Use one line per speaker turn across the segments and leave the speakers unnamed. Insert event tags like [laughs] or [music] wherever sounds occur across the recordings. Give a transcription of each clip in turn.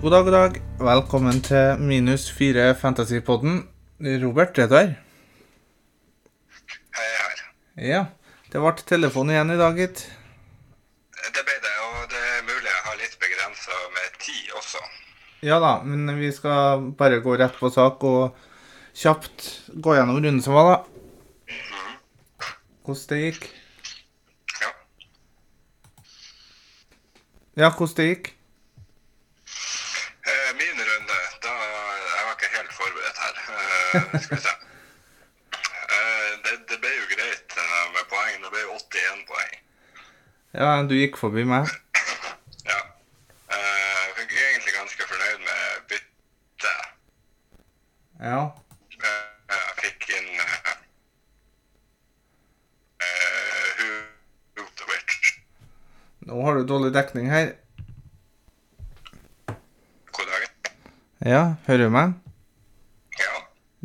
God dag, god dag. Velkommen til minus fire Fantasypodden. Robert, er du her?
Jeg er her.
Ja. Det ble telefon igjen i dag, gitt.
Det ble det, og det er mulig jeg har litt begrensa med tid også.
Ja da, men vi skal bare gå rett på sak og kjapt gå gjennom runden som var, da. Hvordan det gikk?
Ja.
Ja, hvordan det gikk?
Eh, Min runde, da Jeg var ikke helt forberedt her. Eh, Skal vi se. Eh, Det, det ble jo greit eh, med poeng. Det ble jo 81 poeng.
Ja, du gikk forbi meg.
Ja. Eh, Jeg er egentlig ganske fornøyd med byttet.
Ja.
Eh, Jeg fikk inn eh, eh, Hu- Hutovic.
Nå har du dårlig dekning her.
God dag.
Ja, hører du meg?
Ja.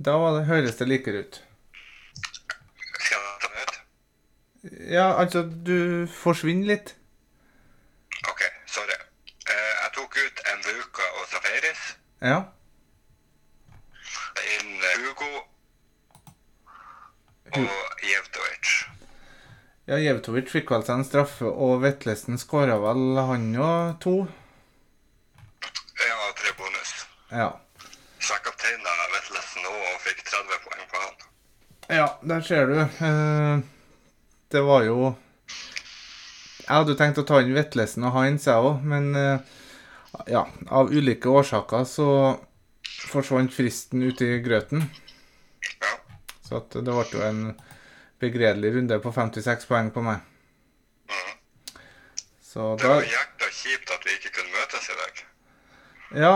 Da var det, høres det likere ut.
Skal jeg ta den ut?
Ja, altså, du forsvinner litt.
OK, sorry. Eh, Jeg tok ut Mvuka og Safaris.
Ja.
inn Hugo og Jevtovic.
Ja, Jevtovic fikk vel seg en straffe, og Vetlesen skåra vel han òg to.
Ja, tre bonus.
Ja.
Så jeg kapteina Vetlesen òg og fikk 30 poeng på han.
ja, der ser du. Eh, Det var jo Jeg hadde jo tenkt å ta inn Vetlesen og Heinz, jeg òg, men eh, ja, av ulike årsaker så forsvant fristen ute i grøten.
Ja.
Så at det ble jo en begredelig runde på 56 poeng på meg.
Mhm.
Så
Det
da
var jækla kjipt at vi ikke kunne møtes i dag.
Ja.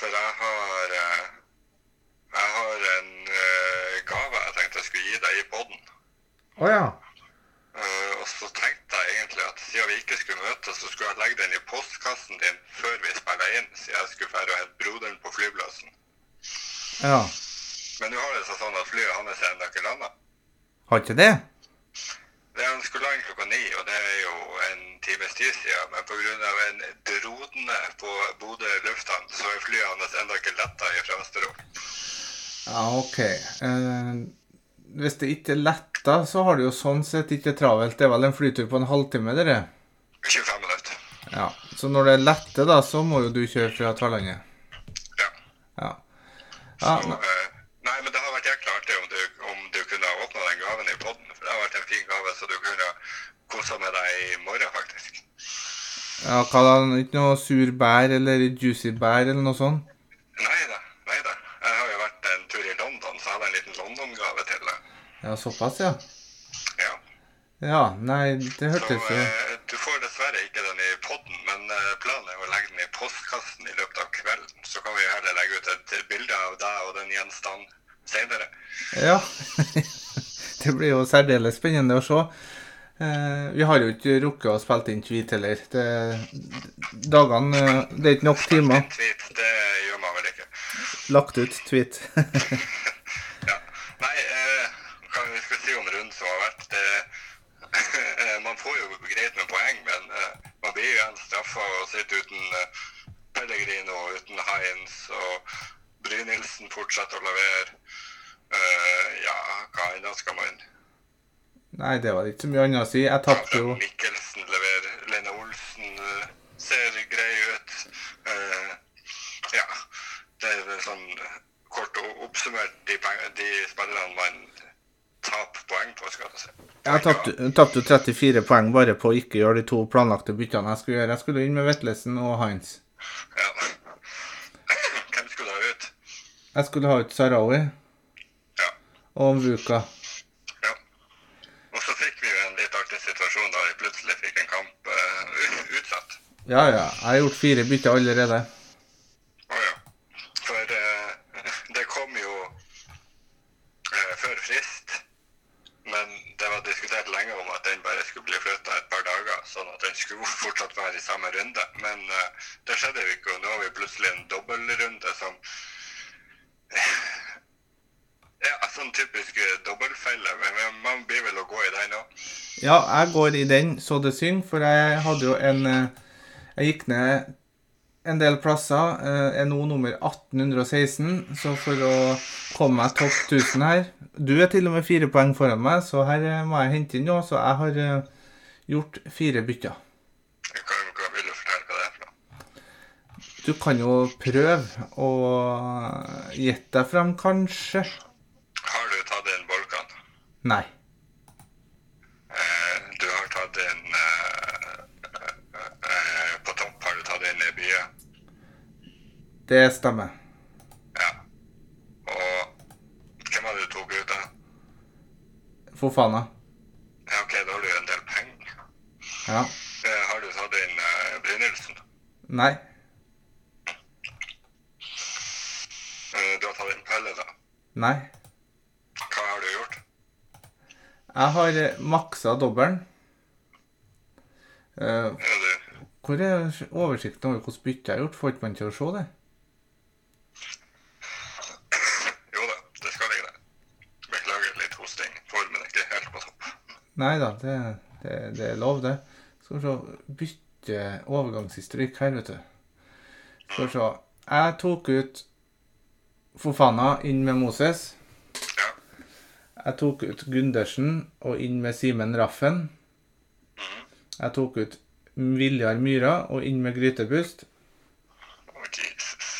For jeg har eh, Jeg har en eh, gave jeg tenkte jeg skulle gi deg i poden.
Å ja.
Eh, og så tenkte jeg egentlig at siden vi ikke skulle møtes, så skulle jeg legge den i postkassen din før vi spilla inn, siden jeg skulle dra og hente broderen på flyplassen.
Ja.
Men nå har det seg sånn at flyet hans er ennå ikke landa.
Har ikke det?
Det er skulle lande klokka ni, og det er jo en times tid siden. Men pga. en drodne på Bodø lufthavn, så er flyet hans ennå ikke letta i fremste rom.
Ja, OK. Eh, hvis det ikke er letta, så har du jo sånn sett ikke travelt. Det er vel en flytur på en halvtime, dere?
25 minutter.
Ja. Så når det er lette, da, så må jo du kjøre fra Tverlandet.
Ja.
Ja. ja.
Så,
ne-
eh, nei, men det hadde vært jækla artig om du, om du kunne ha åpna den gaven i poden. For det hadde vært en fin gave, så du kunne kosa med deg i morgen, faktisk.
ja hva da? Ikke noe sur bær eller juicy bær eller noe sånt?
Nei da. Nei da. Jeg har jo vært en tur i London, så jeg hadde en liten London-gave til deg.
Ja, såpass, ja.
Ja.
Ja, nei, det
Så
hørtes jo
eh, du får dessverre ikke den i podden, men eh, planen er å legge den i postkassen i løpet av kvelden. Så kan vi jo heller legge ut et bilde av deg og den gjenstanden senere.
Ja. [laughs] det blir jo særdeles spennende å se. Eh, vi har jo ikke rukket å spille inn tweet heller. Det, dagene eh, Det er ikke nok timer
En tweet, det gjør man vel ikke.
lagt ut tweet. [laughs]
Ja. Nei, eh, hva vi skal si om runden som har vært? Det, [laughs] eh, man får jo greit med poeng, men eh, man blir jo igjen straffa og sitter uten eh, Pellegrino, uten Heinz, og Brynildsen fortsetter å levere. Eh, ja, hva annet skal man
Nei, det var ikke så mye annet å si. Jeg tapte jo
[laughs] Mikkelsen leverer. Lene Olsen eh, ser grei ut. Eh, ja. Det er vel sånn eh, kort og oppsummert de, peng- de spillerne man taper poeng på, skal jeg si.
Jeg tapte- tapte jo 34 poeng bare på å ikke gjøre de to planlagte byttene jeg skulle gjøre. Jeg skulle inn med Vetlesen og Heinz.
Ja. [laughs] Hvem skulle da ut?
Jeg skulle ha ut Sarawi
Ja.
og Vuka.
ja. Og så fikk vi jo en litt artig situasjon da vi plutselig fikk en kamp eh, ut- utsatt.
Ja ja, jeg har gjort fire bytter allerede.
Å ja. For eh, det kom jo eh, før frist. Men det var diskutert lenge om at den bare skulle bli flytta et par dager, sånn at den skulle [laughs] fortsatt være i samme runde. Men eh, det skjedde jo ikke, og nå har vi plutselig en dobbeltrunde som [laughs] Ja, sånn typisk eh, dobbeltfelle, men men man blir vel å gå i den òg.
Ja, jeg går i den så det synger, for jeg hadde jo en eh, Jeg gikk ned en del plasser. eh, Er nå nummer 1816, så for å komme meg topp 1000 her Du er til og med fire poeng foran meg, så her eh, må jeg hente inn noe. Så jeg har eh, gjort fire bytter.
Hva, hva vil du fortelle hva det er for noe?
Du kan jo prøve å gjette deg frem, kanskje?
Har du tatt en Bolkan?
Nei.
Eh, du har tatt en eh, eh, eh, På topp har du tatt en Nebye.
Det stemmer.
Ja. Og hvem hadde du tok ut, da?
Fofana.
Ja, OK, da har du en del penger.
Ja.
Eh, har du tatt en eh, Brynildsen?
Nei.
Eh, du har tatt en Pelle, da.
Nei.
Hva har du gjort?
Jeg har eh, maksa dobbelen. Eh,
Er du
Hvor er oversikten over hvordan bytte jeg har gjort? Får ikke man til å se det?
Jo da, det skal ligge der. Beklager litt hosting. Formen er ikke helt på topp.
Nei da, det, det, det er lov, det. Skal vi se Bytte overgangshistorikk her, vet du. Skal vi se Jeg tok ut Fofana inn med Moses.
Ja.
Jeg tok ut Gundersen og inn med Simen Raffen. Jeg tok ut Viljar Myra og inn med Grytebust.
Å, Jesus.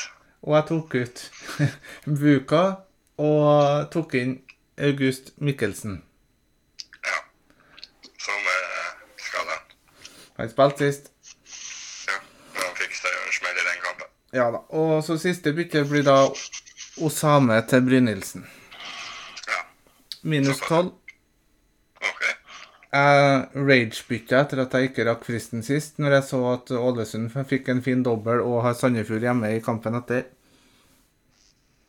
Og jeg tok ut [laughs] Buka og tok inn August Mikkelsen.
Ja. Som eh, skada.
Han spilte sist.
Ja. Men han fikk seg en smell i den kampen.
Ja da. Og så siste bytte blir da Osame til Brynildsen.
Ja.
Minus 12.
OK.
Jeg rage-bytta etter at jeg ikke rakk fristen sist, når jeg så at Ålesund fikk en fin dobbel og har Sandefjord hjemme i kampen etter.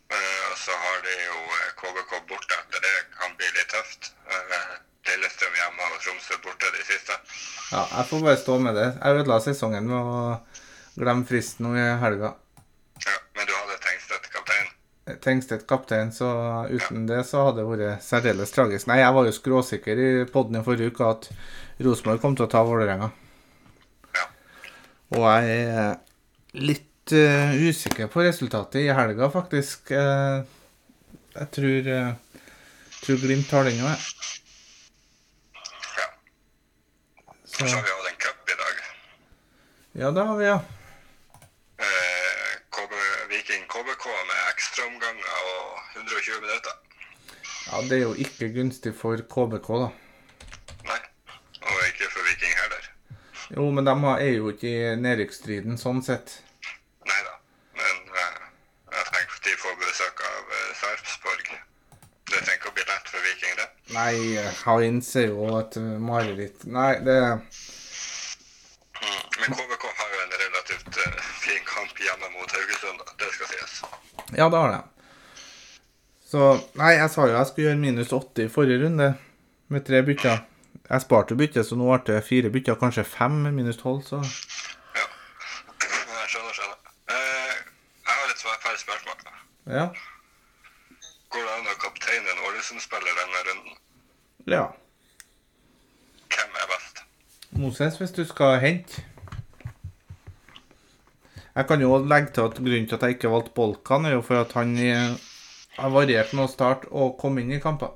Eh, og så har de jo eh, KBK borte etter det. Kan bli litt tøft. Eh, Lillestrøm hjemme og Tromsø borte de siste.
Ja, jeg får bare stå med det. Jeg ødela sesongen med å glemme fristen nå i helga.
Ja. Men du hadde Tengstedt kaptein.
Tengstedt kaptein, så uten det så hadde det vært særdeles tragisk. Nei, jeg var jo skråsikker i podden i forrige uke at Rosenborg kom til å ta Vålerenga.
Ja.
Og jeg er litt eh, usikker på resultatet i helga, faktisk. Eh, jeg tror, eh, tror Glimt tar den òg, jeg.
Ja. Så
Så
har vi hatt en cup i dag.
ja, det har vi, ja.
Eh, KB, Viking KBK med ekstraomganger og 120 minutter.
ja. Det er jo ikke gunstig for KBK, da.
Nei. Og ikke for Viking heller.
Jo, men de har- er jo ikke i nedrykksstriden sånn sett.
Nei da. Men eh, jeg tenker de får besøk av eh, Sarpsborg. Det trenger ikke å bli lett for Viking, det.
Nei, eh, Heinz er jo et mareritt. Nei, det
Mm. Men KBK har jo en relativt eh, fin kamp hjemme mot Haugesund, da. det skal sies.
Ja, det har det. Så Nei, jeg sa jo jeg skulle gjøre minus åtte i forrige runde, med tre bytter. Jeg sparte byttet, så nå ble det fire bytter, kanskje fem med minus tolv, så
Ja. Jeg skjønner, skjønner. Eh, jeg har et svar- færre spørsmål.
Ja.
Går det an å kapteine en Ålesund-spiller denne runden?
ja.
Hvem er best?
Moses, hvis du skal hente Jeg kan jo legge til at grunnen til at jeg ikke valgte Bolkan, er jo for at han eh, har variert med å starte og komme inn i kamper.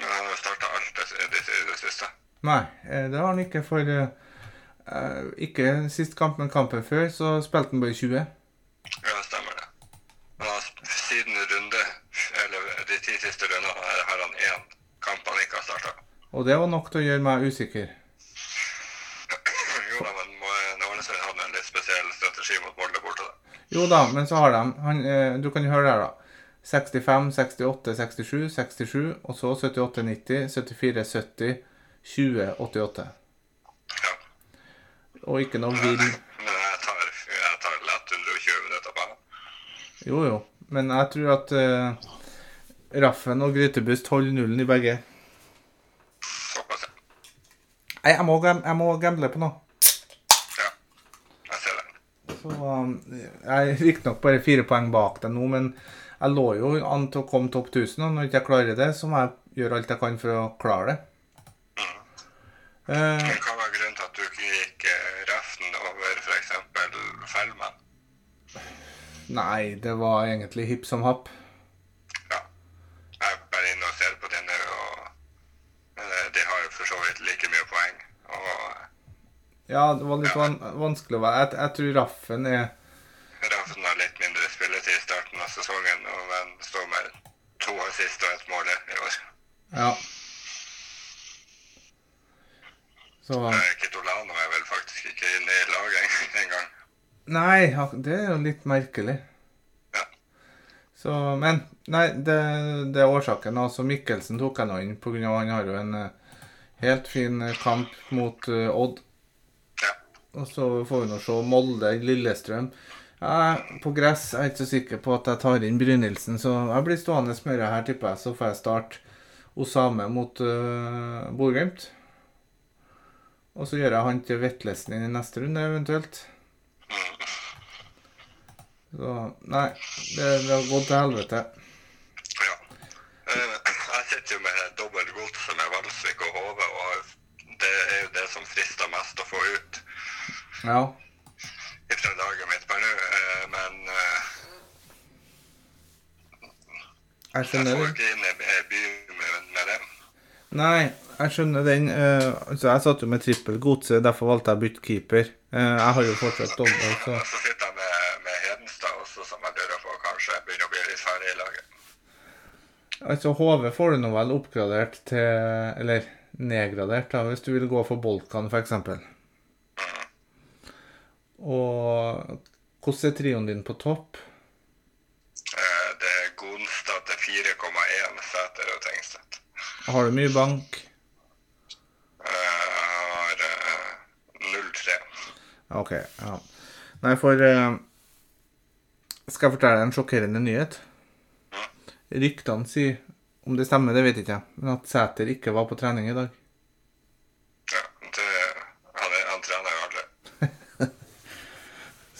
Han har starta alt det, det, det siste.
Nei, eh, det har han ikke, for eh, eh, Ikke sist kamp, men kampen før, så spilte han bare 20.
Ja, stemmer det. Men han, siden runde, eller de ti siste rundene, har- har han én kamp han ikke har starta.
Og det var nok til å gjøre meg usikker.
[clears throat] Jo da, men må- nå Ålesund hadde en litt spesiell strategi mot Molde borte, da.
Jo da, men så har de han, eh, Du kan jo høre der, da. 65, 68, 67, 67, og så 78, 90, 74, 70, 20, 88.
Ja.
Og ikke noe vill
Men jeg tar, jeg tar lett 120 minutter på ham.
Jo, jo. Men jeg tror at eh, Raffen og Grytebust holder nullen i begge.
Såpass, ja.
Nei, jeg må, gam- jeg må gamble på noe.
ja. Jeg ser det.
Så um, jeg er riktignok bare fire poeng bak deg nå, men jeg lå jo an til å komme topp 1000, og når ikke jeg klarer det, så må jeg gjøre alt jeg kan for å klare det. Eh,
Men hva var grunnen til at du ikke gikk eh, reften over f.eks. Fellmann?
Nei, det var egentlig hipp som happ.
Ja. Jeg er bare inne og ser på denne, og eh, de har jo for så vidt like mye poeng. Og eh,
Ja, det var litt van vanskelig å være jeg, jeg tror Raffen er
Raffen har litt mindre spilletid i starten av sesongen, og men står med to assist og ett mål i år.
Ja. Så
Eh, Kitolano er vel faktisk ikke inne i laget en- engang.
Nei, ha- det er jo litt merkelig.
Ja.
Så, men Nei, det, det er årsaken. Altså, Mikkelsen tok jeg nå inn pga. han har jo en eh, helt fin eh, kamp mot eh, Odd.
Ja.
Og så får vi nå se Molde, Lillestrøm. Ja, på gress jeg er ikke så sikker på at jeg tar inn Brynildsen, så jeg blir stående med det her, tipper jeg. Så får jeg starte Osame mot uh, Bodø-Glimt. Og så gjør jeg han til Vetlesen inn i neste runde, eventuelt. Så Nei, det, det har gått til helvete.
Ja. Eh, Jeg sitter jo med dobbelt gods med Valsvik og Hove, og det er jo det som frister mest å få ut
Ja.
fra laget mitt per nå. Eh, Men eh,
Jeg
jeg
skjønner
får
den.
ikke inn i i by med, med dem.
Nei, jeg skjønner den. eh, altså, jeg satt jo med trippel godse, derfor valgte jeg å bytte keeper. Eh, jeg har jo fortsatt dobbelt, så
Og så sitter jeg med, med Hedenstad også, som jeg lurer på kanskje begynner å bli litt ferdig i laget.
Altså, HV får du nå vel oppgradert til Eller nedgradert, da, hvis du vil gå for Bolkan, f.eks. Og hvordan er trioen din på topp?
Eh, Det er Gonstad til 4,1 Sæter og Tengstedt.
Har du mye bank?
Eh, Jeg har eh, 0-3.
OK. ja. Nei, for eh, Skal jeg fortelle deg en sjokkerende nyhet? Ryktene sier, om det stemmer, det vet ikke jeg, men at Sæter ikke var på trening i dag.
Ja, det, han, er- han trener jo aldri.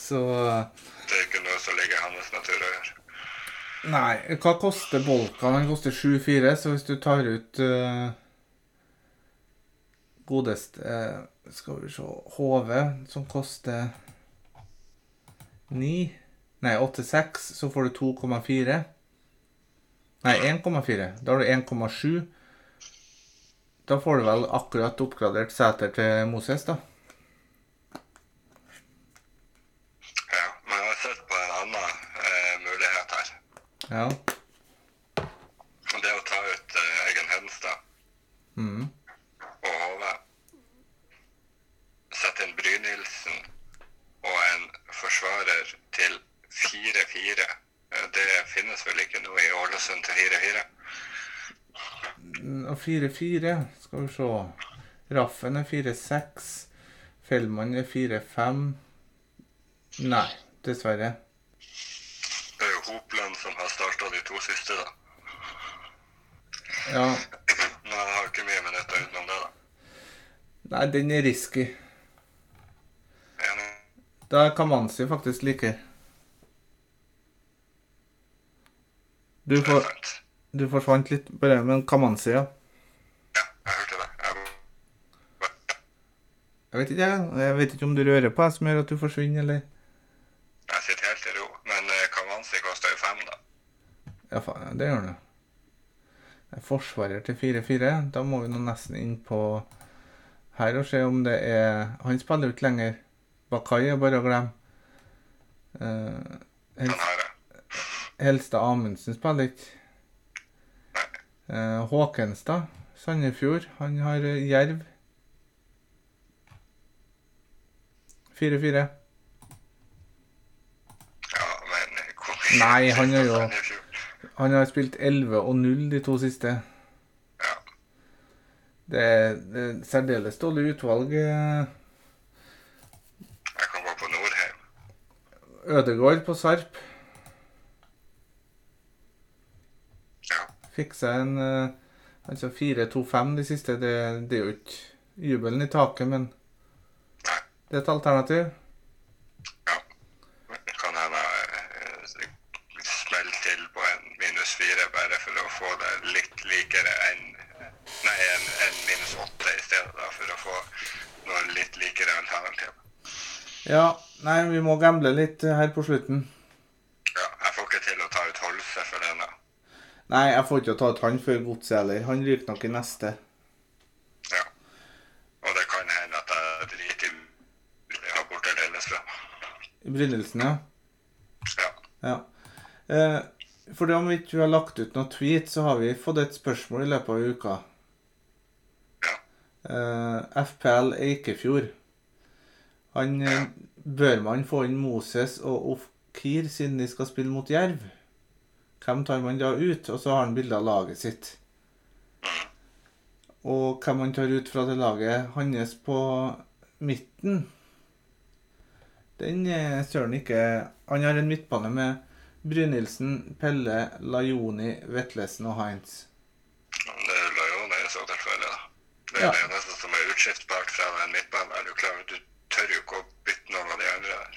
Så
Det er ikke noe som ligger i hans natur å gjøre.
Nei, hva koster Bolkan? Den koster 7,4, så hvis du tar ut eh, godest eh, Skal vi se HV, som koster 9 Nei, 8,6, så får du 2,4. Nei, 1,4. Da har du 1,7. Da får du vel akkurat oppgradert seter til Moses, da.
Ja, men jeg har sett på en annen eh, mulighet her.
Ja.
Og Det er å ta ut eh, Egen Hedenstad
Mm.
og Hove. Sette inn Brynildsen og en forsvarer til 4-4. Eh, Det finnes vel ikke noe i Ålesund til 4-4.
Og 4-4, skal vi se. Raffen er 4-6. Fellmann er 4-5. Nei, dessverre.
Det er jo Hopland som har starta de to siste, da.
Ja.
Men han har ikke mye minutter utenom det, da.
Nei, den er risky.
Enig?
Da er Kamanzi faktisk like. Du,
Det er
for,
sant.
du forsvant litt, bare, men Kamanzi, ja.
Ja, jeg hørte det. Jeg...
Jeg vet, ikke, jeg. jeg vet ikke om du rører på jeg som gjør at du forsvinner, eller
Jeg sitter helt i ro, men eh, Kamanzi koster jo fem, da.
Ja, faen, det gjør han jo. Det er Forsvarer til 4-4. Da må vi nå nesten inn på her og se om det er Han spiller jo ikke lenger. Bakai er bare å glemme. Eh,
Den
Hel-
har jeg.
Helstad Amundsen spiller ikke.
Nei.
Eh, Håkenstad, Sandefjord. Han har eh, Jerv. 4-4.
Ja, men hvor
Nei, han er jo-
Han i fjor.
Han har spilt 11 og 0 de to siste.
Ja.
Det er det er særdeles dårlig utvalg. eh.
Jeg kan gå på Nordheim.
Ødegård på Sarp
Ja.
fikk seg en eh, altså 4-2-5 de siste. Det, det er jo ikke jubelen i taket, men
Nei.
det er et alternativ.
Ja. Det Kan hende jeg eh, smeller til på en minus fire bare for å få det litt likere enn Nei, en, en minus åtte i stedet, da, for å få noe litt likere alternativ.
Ja, nei, vi må gamble litt eh, her på slutten.
godset for den, da.
Nei, jeg får ikke tatt han før godset heller. Han ryker nok i neste.
Ja. Og det kan hende at jeg driter i det her borte til Lillestrøm.
I begynnelsen, ja.
Ja.
Ja. Eh, for det om vi ikke har lagt ut noe tweet, så har vi fått et spørsmål i løpet av uka.
Ja.
Eh, FPL Eikefjord. Han eh, Bør man få inn Moses og Ofkir siden de skal spille mot Jerv? Hvem tar man da ut? Og så har han bilde av laget sitt. Og hvem man tar ut fra det laget hans på midten den er søren ikke Han har en midtbane med Brynildsen, Pelle, Lajoni, Vetlesen og Heinz.
Men Det la jo ned i så tilfelle, da. Det er
Ja.
det eneste som er utskiftbart fra den midtbanen. Er du klar? Du tør jo ikke å bytte noen av de andre der.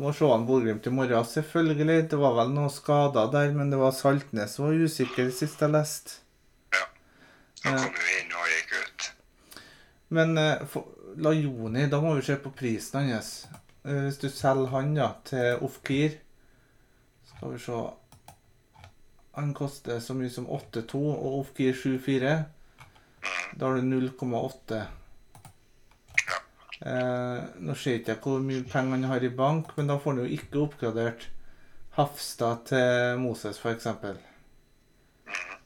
Må se han Bodø-Glimt i morgen, selvfølgelig. Det var vel noen skader der, men det var Saltnes som var usikker sist jeg leste.
Ja. Han
Ja.
kom jo inn og gikk ut.
Men eh, for, Lajoni, da må vi se på prisen hans. Eh, hvis du selger han da, til Ofkir, skal vi se Han koster så mye som 8,2 og Ofkir 7,4. Da har du 0,8. Eh, nå ser ikke jeg hvor mye penger han har i bank, men da får han jo ikke oppgradert Hafstad til Moses, f.eks.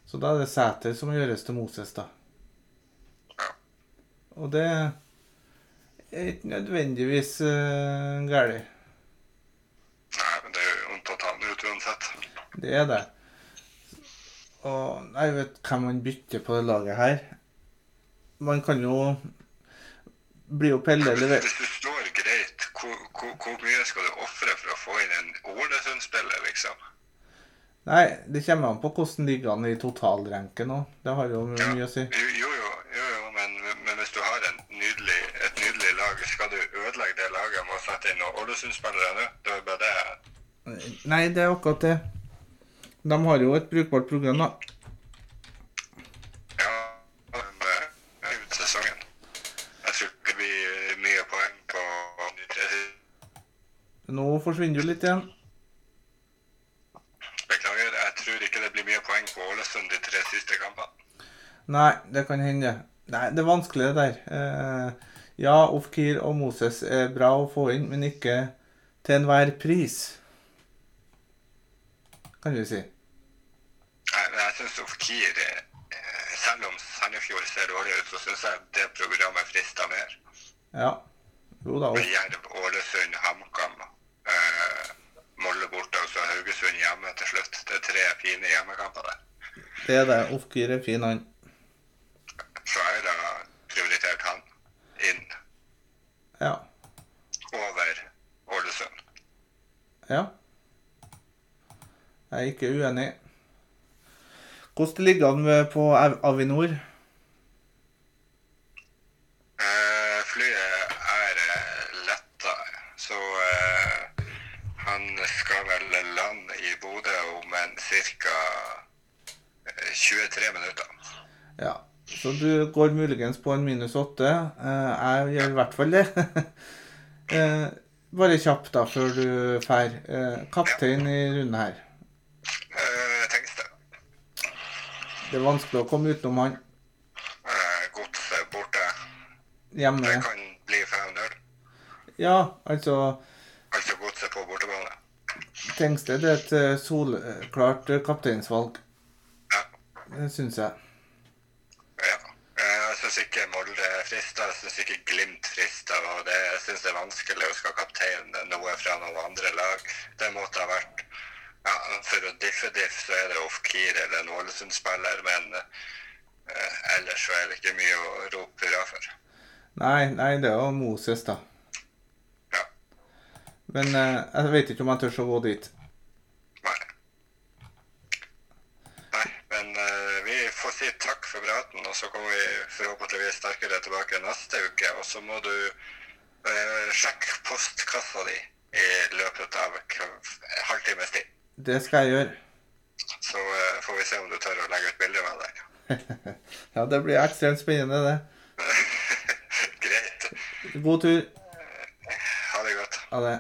Så da er det Sæter som må gjøres til Moses, da. Og det er ikke nødvendigvis uh, galt.
Nei, men det er jo vondt å ta han ut uansett.
Det er det. Og jeg vet hvem man bytter på det laget her. Man kan jo Blir jo Pelle lever...
Hvis du står greit, hvor, hvor, hvor mye skal du ofre for å få inn en Ålesund-spiller, liksom?
Nei, det kommer an på hvordan ligger han i totalrenken òg. Det har jo mye å si.
Jo, jo, jo, jo, jo men, men hvis du har en nydelig, et nydelig lag, skal du ødelegge det laget med å sette inn noen Ålesund-spillere nå? Det er bare det.
Nei, det er akkurat det. De har jo et brukbart program, da.
Ja, men, eh, ut sesongen. Jeg tror ikke det blir mye poeng på de tre siste.
Nå forsvinner du litt igjen.
Beklager, jeg tror ikke det blir mye poeng på Ålesund de tre siste kampene.
Nei, det kan hende. Nei, det er vanskelig det der. Eh, ja, Ofkir og Moses er bra å få inn, men ikke til enhver pris. Kan vi si.
Nei, men jeg syns Ofkir eh, Selv om Sandefjord ser dårlig ut, så syns jeg det programmet frister mer.
Ja. Jo da.
Med
Of-
Jerv, Ålesund, HamKam, eh, Molde borte og så Haugesund hjemme til slutt. Det er tre fine hjemmekamper der.
Det er det. Ofkir er fin, han.
Så jeg har da prioritert han inn
Ja.
over Ålesund.
Ja. Jeg er ikke uenig. Hvordan det ligger an med på Av- Avinor?
Eh, flyet er eh, letta, så eh, han skal vel lande i Bodø om en ca. 23 minutter.
Ja. Så du går muligens på en minus åtte. Eh, jeg gjør i hvert fall det. [laughs] eh, bare kjapt, da, før du drar. Eh, kaptein i runden her.
Eh, Tengstad.
Det er vanskelig å komme utenom han
Eh, Godset borte. Det
hjemme.
kan bli 5-0.
Ja, altså
Altså Godset på bortebane.
Tengsted er et eh, solklart eh, kapteinsvalg.
Ja.
Det syns jeg.
ja. Eh, Jeg syns ikke Molde frister, jeg syns ikke Glimt frister. Og det, jeg syns det er vanskelig å skal kapteine noe fra noen andre lag. Det måtte ha vært ja, For å diffe-diff, så er det Ofkir eller en Ålesund-spiller, men eh, ellers så er det ikke mye å rope hurra for.
Nei, nei, det er jo Moses, da.
Ja.
Men eh, jeg vet ikke om jeg tør å gå dit.
Nei. Nei, men eh, vi får si takk for praten, og så kommer vi forhåpentligvis sterkere tilbake neste uke. Og så må du eh, sjekke postkassa di i løpet av en halvtimes tid.
Det skal jeg gjøre.
Så eh, får vi se om du tør å legge ut bilde med deg. [laughs]
[laughs] Ja, det blir ekstremt spennende, det.
Greit.
God tur.
Ha det godt.
Ha det.